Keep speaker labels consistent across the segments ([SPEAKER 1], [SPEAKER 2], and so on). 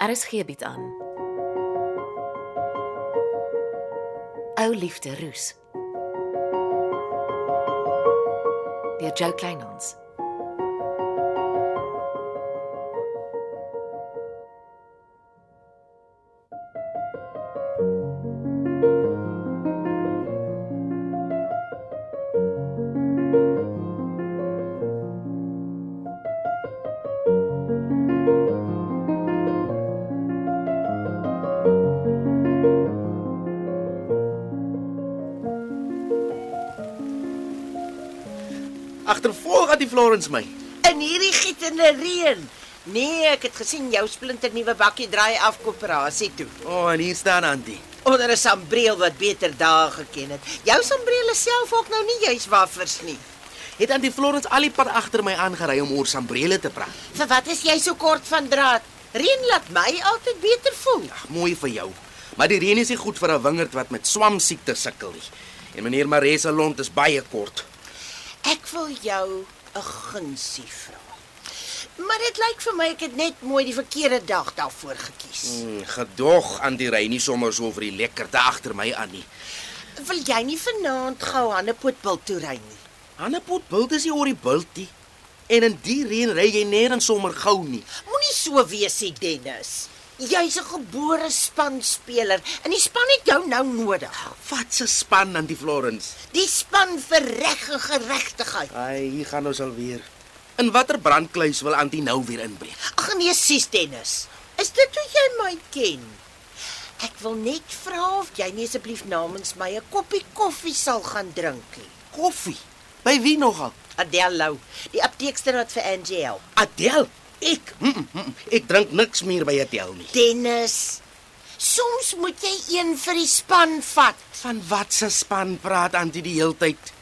[SPEAKER 1] RSG bied Er aan. Ou liefde roes. Deur Jo Kleinhans.
[SPEAKER 2] Agtervolg aan die Florence my.
[SPEAKER 3] In hierdie gietende reën. Nee, ek het gesien jou splinter nuwe bakkie draai af koöperasie toe.
[SPEAKER 2] O, oh, en hier staan Antie.
[SPEAKER 3] Onder 'n sambreel wat beter dae geken het. Jou sambreel is self ook nou nie juis waffers nie.
[SPEAKER 2] Het Antie Florence al die pad agter my aangery om oor sambrele te praat.
[SPEAKER 3] Vir wat is jy so kort van draad? Reën laat my altyd beter voel.
[SPEAKER 2] Ag, mooi vir jou. Maar die reën is nie goed vir 'n wingerd wat met swamsiekte sukkel nie. En meneer Maree se lont is baie kort.
[SPEAKER 3] Ek wil jou 'n gunsie vra. Maar dit lyk vir my ek het net mooi die verkeerde dag daarvoor gekies.
[SPEAKER 2] Hmm, gedog aan die ry nie sommer so vir die lekkerte agter my aan nie.
[SPEAKER 3] Wil jy nie vanaand gou Hannepootbil toe ry nie?
[SPEAKER 2] Hannepot bult is nie oor die bultie. En in die reën ry jy nêrens sommer gou nie.
[SPEAKER 3] Moenie so wees, nie, Dennis. Jy's 'n gebore spanspeler en die span het jou nou nodig.
[SPEAKER 2] Wat 'n span aan die Florence.
[SPEAKER 3] Die span vir reg en geregtigheid.
[SPEAKER 2] Ai, hier gaan ons alweer. In watter brandkluis wil Antie nou weer inbreek?
[SPEAKER 3] Ag nee, sies Dennis. Is dit hoe jy my ken? Ek wil net vra of jy nie asseblief namens my 'n koppie koffie sal gaan drink nie.
[SPEAKER 2] Koffie. By wie nogal?
[SPEAKER 3] Adele Lou, die apteekster wat vir Angie help.
[SPEAKER 2] Adel, ek, mm, mm, mm, ek drink niks meer by Adel nie.
[SPEAKER 3] Dennis, soms moet jy een vir die span vat.
[SPEAKER 2] Van wat se span praat Antie die heeltyd?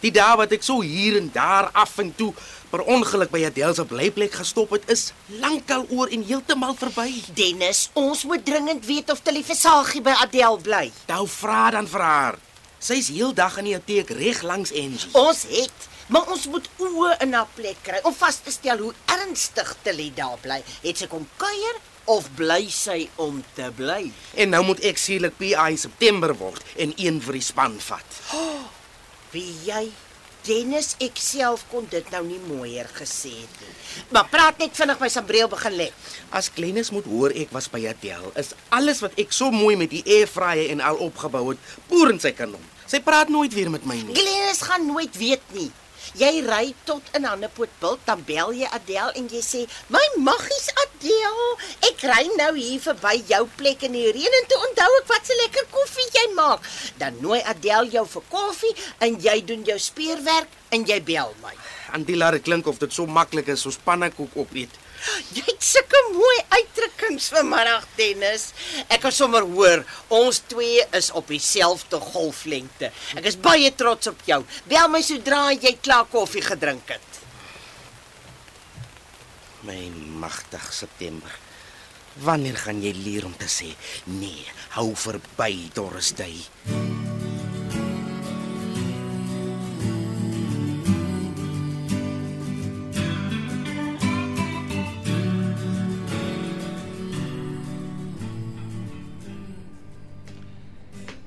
[SPEAKER 2] Die dae wat ek so hier en daar af en toe per ongeluk by Adel se blyplek gestop het, is lankal oor en heeltemal verby.
[SPEAKER 3] Dennis, ons moet dringend weet of Televisagie by Adele bly.
[SPEAKER 2] Nou vra dan vir haar. Sy's heeldag in die apteek reg langs Angie.
[SPEAKER 3] Ons het, maar ons moet oë in haar plek kry om vas te stel hoe ernstig Tilly daar bly. Het sy kom kuier of bly sy om te bly?
[SPEAKER 2] En nou moet ek seelik PI September word en een vir die span vat.
[SPEAKER 3] Wie jy Dennis ek self kon dit nou nie mooier gesê het nie. Maar praat net vinnig my sambreel begin lê.
[SPEAKER 2] As Glenis moet hoor ek was by Adel, is alles wat ek so mooi met die airfryer en al opgebou het, poer in sy kanon. Sy praat nooit weer met my nie.
[SPEAKER 3] Glenis gaan nooit weet nie. Jy ry tot in Hannepoortbilt, dan bel jy Adel en jy sê: "My maggies Adel, ek ry nou hier verby jou plek in die reën en toe onthou ek wat 'n lekker koffie jy maak." Dan nooi Adel jou vir koffie en jy doen jou speurwerk en jy bel my.
[SPEAKER 2] Antie laat dit klink of dit so maklik is soos pannekoek opeet.
[SPEAKER 3] Jy het sulke mooi uitdrukkings vanmiddag, Dennis. Ek kan sommer hoor ons twee is op dieselfde golflengte. Ek is baie trots op jou. Bel my sodra jy klaar koffie gedrink het.
[SPEAKER 2] My magtig September. Wanneer gaan jy leer om te sê nee, hou verby Doris Day?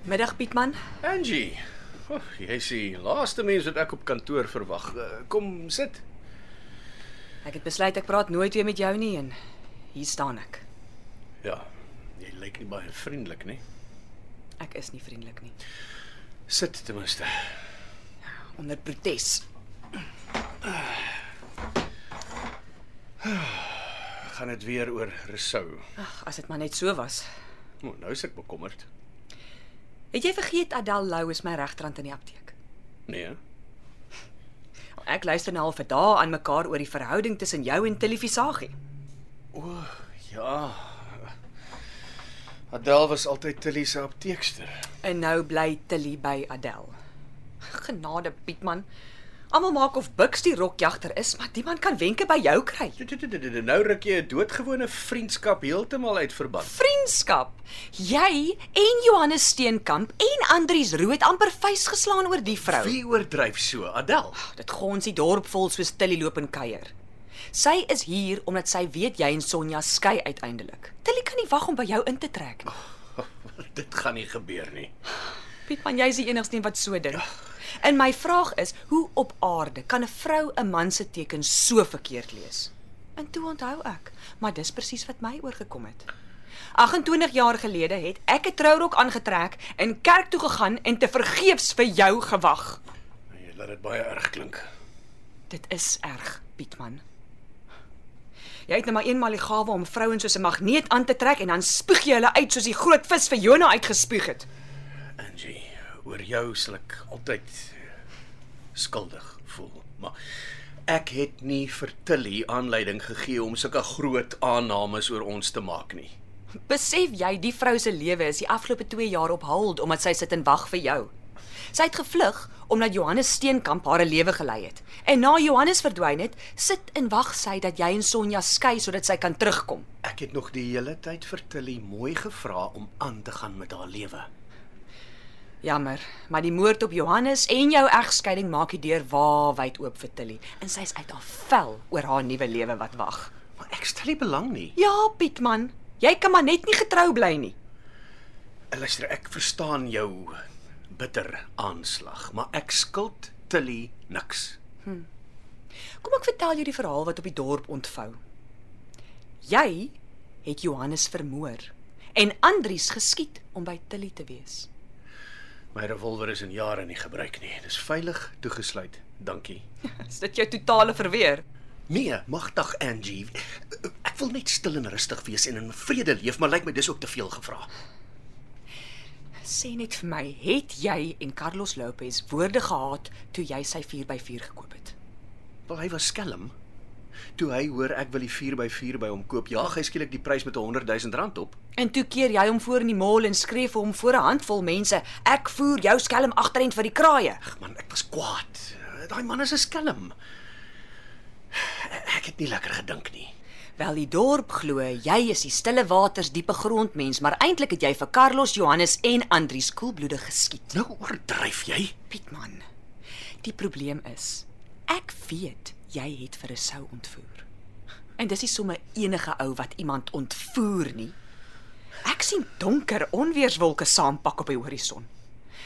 [SPEAKER 4] Middag Pietman.
[SPEAKER 5] Angie, oh, jy is die laaste mens wat ek op kantoor verwag. Eh, Kom sit.
[SPEAKER 4] Ek het besluit ek praat nooit weer met jou nie en hier staan ek.
[SPEAKER 5] Ja, jy lyk nie baie vriendelik nie.
[SPEAKER 4] Ek is nie vriendelik nie.
[SPEAKER 5] Sit ten minste.
[SPEAKER 4] Onder protes.
[SPEAKER 5] Gaan dit weer oor Resou.
[SPEAKER 4] Ag, as dit maar net so was.
[SPEAKER 5] Oh, nou is ek bekommerd.
[SPEAKER 4] Het jy vergeet Adel Lou is my regterhand in die apteek?
[SPEAKER 5] Nee.
[SPEAKER 4] Ek luister nou al vir dae aan mekaar oor die verhouding tussen jou en Televisagie.
[SPEAKER 5] O, oh, ja. Adel was altyd Tilly se apteekster.
[SPEAKER 4] En nou bly Tilly by Adel. Genade Pietman. Almal maak of Bux die rokjagter is, maar die man kan wenke by jou kry.
[SPEAKER 5] Du- du- du- du- du- du- Nou ruk jy 'n doodgewone vriendskap heeltemal uit verband.
[SPEAKER 4] Vriendskap. Jy en Johannes Steenkamp en Andrius Roo het amper vuis
[SPEAKER 5] Nou.
[SPEAKER 4] geslaan oor die vrou.
[SPEAKER 5] Wie oordryf so, Adel?
[SPEAKER 4] Dit gons die dorp vol soos Tilly loop en kuier. Sy is hier omdat sy weet jy en Sonja skei uiteindelik. Tilly kan nie wag om by jou in te trek nie.
[SPEAKER 5] Dit gaan nie gebeur nie.
[SPEAKER 4] Pietman, jy's die enigste een wat so dink. En my vraag is, hoe op aarde kan 'n vrou 'n man se teken so verkeerd lees? En toe onthou ek, maar dis presies wat my oorgekom het. 28 jaar gelede het ek 'n trourok aangetrek en kerk toe gegaan en te vergeefs vir jou gewag.
[SPEAKER 5] Jy laat dit baie erg klink.
[SPEAKER 4] Dit is erg, Pietman. Jy het nou maar eenmal die gawe om vrouens soos 'n magneet aan te trek en dan spoeg jy hulle uit soos die groot vis vir Jona uitgespoeg het.
[SPEAKER 5] Angie, oor jou sal ek altyd skuldig voel, maar ek het nie vir Tilly aanleiding gegee om sulke groot aannames oor ons te maak nie.
[SPEAKER 4] Besef jy die vrou se lewe is die afgelope 2 jaar op hold omdat sy sit en wag vir jou. Sy het gevlug omdat Johannes Steenkamp haar 'n lewe gelei het. En na Johannes verdwyn het, sit en wag sy dat jy en Sonja skei sodat sy kan terugkom.
[SPEAKER 5] Ek het nog die hele tyd vir Tilly mooi gevra om aan te gaan met haar lewe.
[SPEAKER 4] Jammer, maar die moord op Johannes en jou egskeiding maak die deur waawyd oop vir Tilly en sy's uit haar vel oor haar nuwe lewe wat wag.
[SPEAKER 5] Maar ek stel nie belang nie.
[SPEAKER 4] Ja, Pietman, jy kan maar net nie getrou bly nie.
[SPEAKER 5] En Luister, ek verstaan jou bitter aanslag, maar ek skuld Tilly niks.
[SPEAKER 4] Kom ek vertel jou die verhaal wat op die dorp ontvou. Jy het Johannes vermoor en Andries geskiet om by Tilly te wees.
[SPEAKER 5] My revolver is in jare nie gebruik nie. Dis veilig toegesluit. Dankie.
[SPEAKER 4] Is dit jou totale verweer?
[SPEAKER 5] Nee, magtig Angie. Ek wil net stil en rustig wees en in vrede leef, maar lyk my dis ook te veel gevra.
[SPEAKER 4] Sê net vir my, het jy en Carlos Lopez woorde gehad toe jy sy 4x4 gekoop het?
[SPEAKER 5] Wel hy was skelm. Toe hy hoor ek wil die 4x4 by hom koop, jaag hy skielik die prys met 100 000 rand op.
[SPEAKER 4] En toe keer jy hom voor in die mall en skree vir hom voor 'n handvol mense, ek voer jou skelm agterend vir die kraaie.
[SPEAKER 5] Ag man, ek was kwaad. Daai man is 'n skelm. Ek het nie lekker gedink nie.
[SPEAKER 4] Wel die dorp glo jy is die stille waters diepe grondmens, maar eintlik het jy vir Carlos Johannes en Andrius koelbloedig geskiet.
[SPEAKER 5] Nou oordryf jy.
[SPEAKER 4] Pietman. Die probleem is, ek weet jy het vir 'n sou ontvoer. En dis nie sommer enige ou wat iemand ontvoer nie. Ek sien donker onweerswolke saampak op die horison.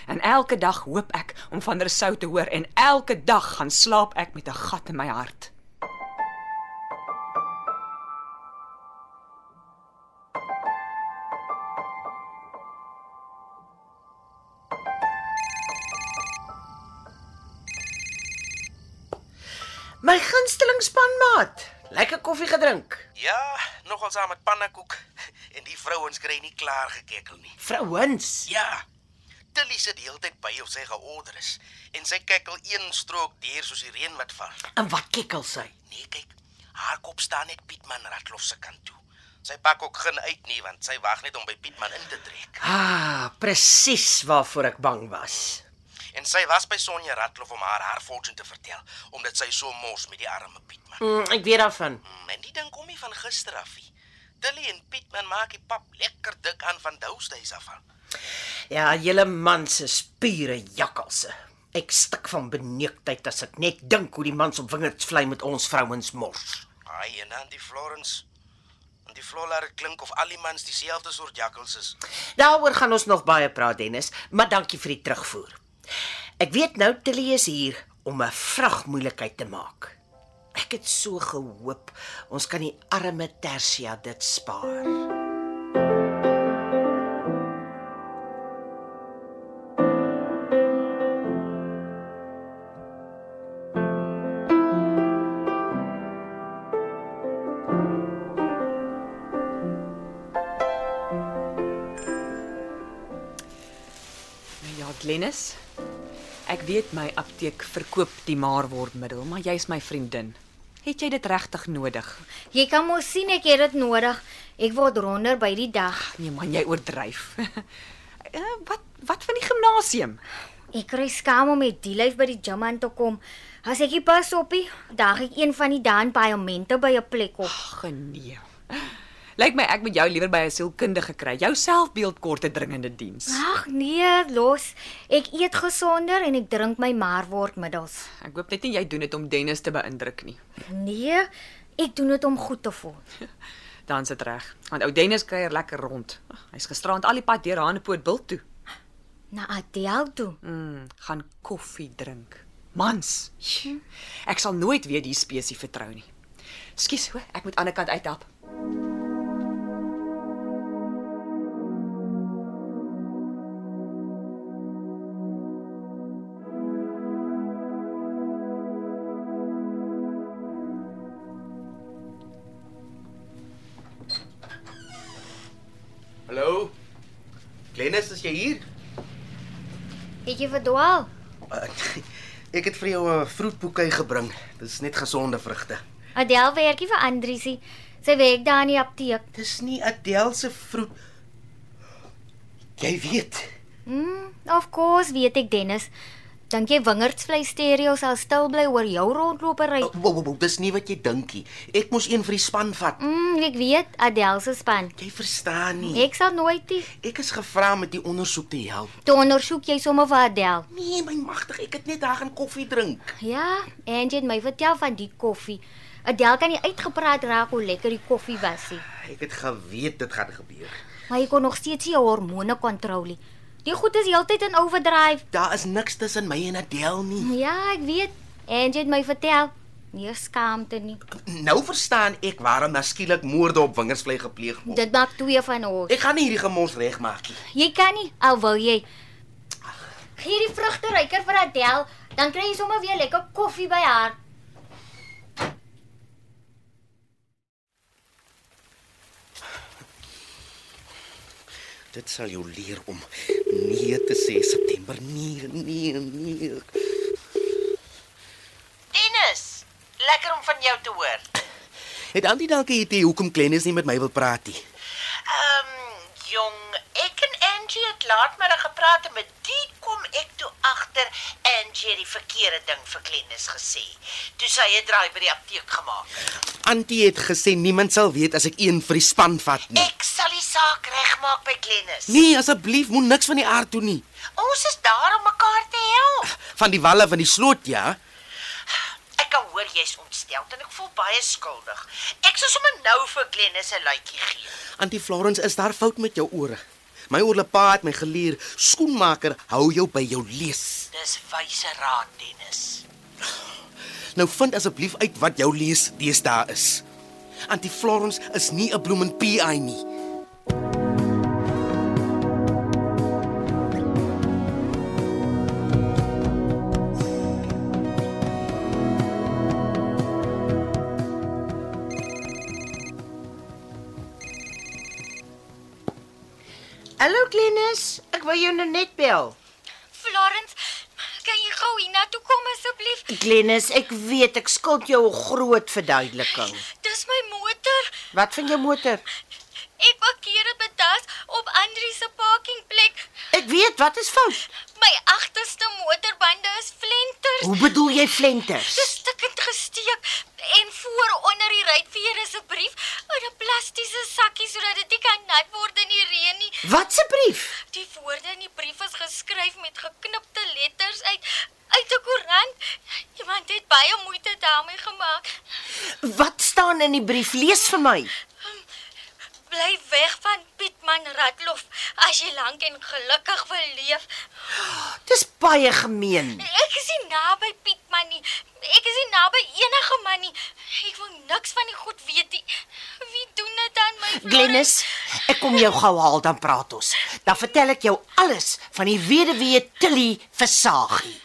[SPEAKER 4] En elke dag hoop ek om van Rousseau te hoor en elke dag gaan slaap ek met 'n gat in my hart.
[SPEAKER 3] My gunsteling spanmaat. Lekker koffie gedrink.
[SPEAKER 2] Ja, nogal saam met pannekoek en die vrouens kry nie klaar gekekkel nie.
[SPEAKER 3] Vrouens.
[SPEAKER 2] Ja. Tilly sit heeltyd by of sy georder is en sy kekkel een strook deur soos die reën wat val.
[SPEAKER 3] En wat kikkel sy?
[SPEAKER 2] Nee, kyk. Haar kop staan net Pietman Ratlof se kant toe. Sy pak ook geen uit nie want sy wag net om by Pietman in te trek.
[SPEAKER 3] Ah, presies waarvoor ek bang was.
[SPEAKER 2] En sy was by Sonja Ratlof om haar haar fortune te vertel omdat sy so mors met die arme Pietman.
[SPEAKER 3] Mm, ek weet daarvan.
[SPEAKER 2] Mm, en die ding kom nie van gister af nie. Tilly en Pietman maak die pap lekker dik aan van Doustuis af aan.
[SPEAKER 3] Ja, julle man se spiere jakkalse. Ek stik van beneuktheid as ek net dink hoe die man se wingerd vlei met ons vrouens mors.
[SPEAKER 2] Ai, en dan die Florence. En die Flolla het klink of al die mans dieselfde soort jakkels is.
[SPEAKER 3] Daaroor gaan ons nog baie praat Dennis, maar dankie vir die terugvoer. Ek weet nou Tilly is hier om 'n vragmoeilikheid te maak. Ek het so gehoop ons kan die arme Tersia dit spaar.
[SPEAKER 4] Ja, Glenis. Ek weet my apteek verkoop die maarwordmiddel, maar jy's my vriendin. Het jy dit regtig nodig?
[SPEAKER 6] Jy kan mos sien ek het dit nodig. Ek word ronder by die dag.
[SPEAKER 4] Nee man, jy oordryf. Eh, wat wat van die gimnasium?
[SPEAKER 6] Ek kry skaam om met die lyf by die gym aan te kom. As ek nie pas oppie, daag ek een van die daan paemente by 'n plek op.
[SPEAKER 4] Ag nee. Lyk my ek moet jou liewer by 'n sielkundige kry. Jou selfbeeld kort 'n dringende diens.
[SPEAKER 6] Ag nee, los. Ek eet gesonder en ek drink my marwordmiddels.
[SPEAKER 4] Ek hoop net nie jy doen dit om Dennis te beïndruk nie.
[SPEAKER 6] Nee, Ek doen dit om goed te voel.
[SPEAKER 4] Dan sit reg. Want ou Dennis kuier lekker rond. Ag, Hy's gisteraand al die pad deur Hanepoort bil toe.
[SPEAKER 6] Na Adele toe.
[SPEAKER 4] Mm, gaan koffie drink. Mans. sjoe, Ek sal nooit weer die spesie vertrou nie. Skus hoor, ek moet aan die ander kant uithap.
[SPEAKER 2] Hallo. Glenis, is jy hier?
[SPEAKER 6] Het jy verdwaal?
[SPEAKER 2] Uh, ek het vir jou 'n vroetboekie gebring. Dis net gesonde vrugte.
[SPEAKER 6] Adele werkie vir Andriesie. Sy werk daar in die apteek.
[SPEAKER 2] Dis nie Adele se vroet. Jy weet.
[SPEAKER 6] Mm, of course weet ek Dennis. Dink jy wingerdsvlei stereo sal stil bly oor jou rondlopery?
[SPEAKER 2] Oh, wow, wow, wow, dis nie wat jy dinkie. Ek moes een vir die span vat.
[SPEAKER 6] Mm, ek weet Adele se span.
[SPEAKER 2] Jy verstaan
[SPEAKER 3] Nee.
[SPEAKER 2] nie.
[SPEAKER 6] Ek sal nooit die
[SPEAKER 2] Ek is gevra om met die ondersoek te help.
[SPEAKER 6] toe ondersoek jy sommer vir Adele.
[SPEAKER 2] Nee, my magtig, ek het net daar gaan koffie drink.
[SPEAKER 6] Ja, Angie het my vertel van die koffie. Adele kan nie uitgepraat raak hoe lekker die koffie was nie,
[SPEAKER 2] Ek het geweet dit gaan gebeur.
[SPEAKER 6] maar jy kon nog steeds nie jou hormone kontroleer nie. Die goed is heeltyd in overdrive.
[SPEAKER 2] Daar is niks tussen my en Adele nie.
[SPEAKER 6] Ja, ek weet. Angie het my vertel. Nie skaamte nie.
[SPEAKER 2] Nou verstaan ek waarom daar skielik moorde op wingersvlei gepleeg word.
[SPEAKER 6] Dit maak twee van ons.
[SPEAKER 3] Nee.
[SPEAKER 2] Ek gaan nie hierdie gemors regmaak nie.
[SPEAKER 6] Jy kan nie al wil jy. Gee die vrugte ryker vir Adel, dan kry jy sommer weer lekker koffie by haar.
[SPEAKER 2] Dit sal jou leer om nee te sê September. Nee, nee, nee.
[SPEAKER 3] Dennis, lekker om van jou te hoor.
[SPEAKER 2] Het Antie dankie dit hoekom Glennis nie met my wil praat nie.
[SPEAKER 3] Ehm um, jong, ek en Angie het laatmiddag gepraat en met die kom ek toe agter Angie het die verkeerde ding vir Glenis gesê. Toe sy 'n draai by die apteek gemaak.
[SPEAKER 2] Antie het gesê niemand sal weet as ek een vir die span vat nie.
[SPEAKER 3] Ek sal die saak regmaak by Glenis.
[SPEAKER 2] Nee, asseblief, moen niks van die aard doen nie.
[SPEAKER 3] Ons is daar om mekaar te help.
[SPEAKER 2] Van die walle van die sloot, ja.
[SPEAKER 3] Ek kan hoor jy's ontsteld en ek voel baie skuldig. Ek sal sommer nou vir Glenis 'n luitjie gee.
[SPEAKER 2] Antie Florence, is daar fout met jou ore? My oorlepa het my geleer, skoenmaker hou jou by jou lees.
[SPEAKER 3] Dis wyse raad, Dennis.
[SPEAKER 2] Nou vind asseblief uit wat jou lees deesdae is. Antie Florence is nie 'n bloemen PI nie.
[SPEAKER 3] Hallo Glenis, ek wou jou nou net bel.
[SPEAKER 6] Florence, kan jy gou hiernatoe kom asseblief?
[SPEAKER 3] Glenis, ek weet ek skuld jou 'n groot verduideliking.
[SPEAKER 6] Dis my motor.
[SPEAKER 3] Wat van jou motor?
[SPEAKER 6] Ek parkeer dit betas op Andri se parkingplek.
[SPEAKER 3] Ek weet wat is fout.
[SPEAKER 6] My agterste motorbande is flenters.
[SPEAKER 3] Hoe bedoel jy flenters?
[SPEAKER 6] Stukkend gesteek en voor onder die ruitveer is 'n brief in 'n plastiese sakkie sodat dit nie kan nat word in die reën nie.
[SPEAKER 3] Wat 'n brief?
[SPEAKER 6] Die woorde in die brief is geskryf met geknipte letters uit uit 'n koerant. Iemand het baie moeite daarmee gemaak.
[SPEAKER 3] Wat staan in die brief? Lees vir my.
[SPEAKER 6] Bly weg van Pietman Ratlof as jy lank en gelukkig wil leef.
[SPEAKER 3] Dis baie gemeen.
[SPEAKER 6] Ek is nie naby Pietman nie. Ek is nie naby enige man nie. Ek wil niks van die goed weet nie. Wie doen dit aan my? Florence?
[SPEAKER 3] Glenis, ek kom jou gou haal dan praat ons. Dan vertel ek jou alles van die weduwee Tilly Versaagie.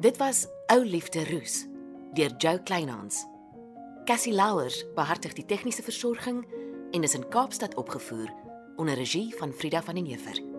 [SPEAKER 1] Dit was Ou Liefde Roos deur Jo Kleinhans. Cassie Louwers behartig die tegniese versorging en is in Kaapstad opgevoer onder regie van Frida van den Heever.